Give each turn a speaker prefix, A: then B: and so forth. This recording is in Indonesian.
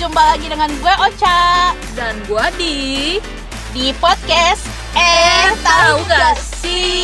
A: Jumpa lagi dengan gue Ocha
B: dan gua di
A: di podcast Eh
B: tahu gak sih?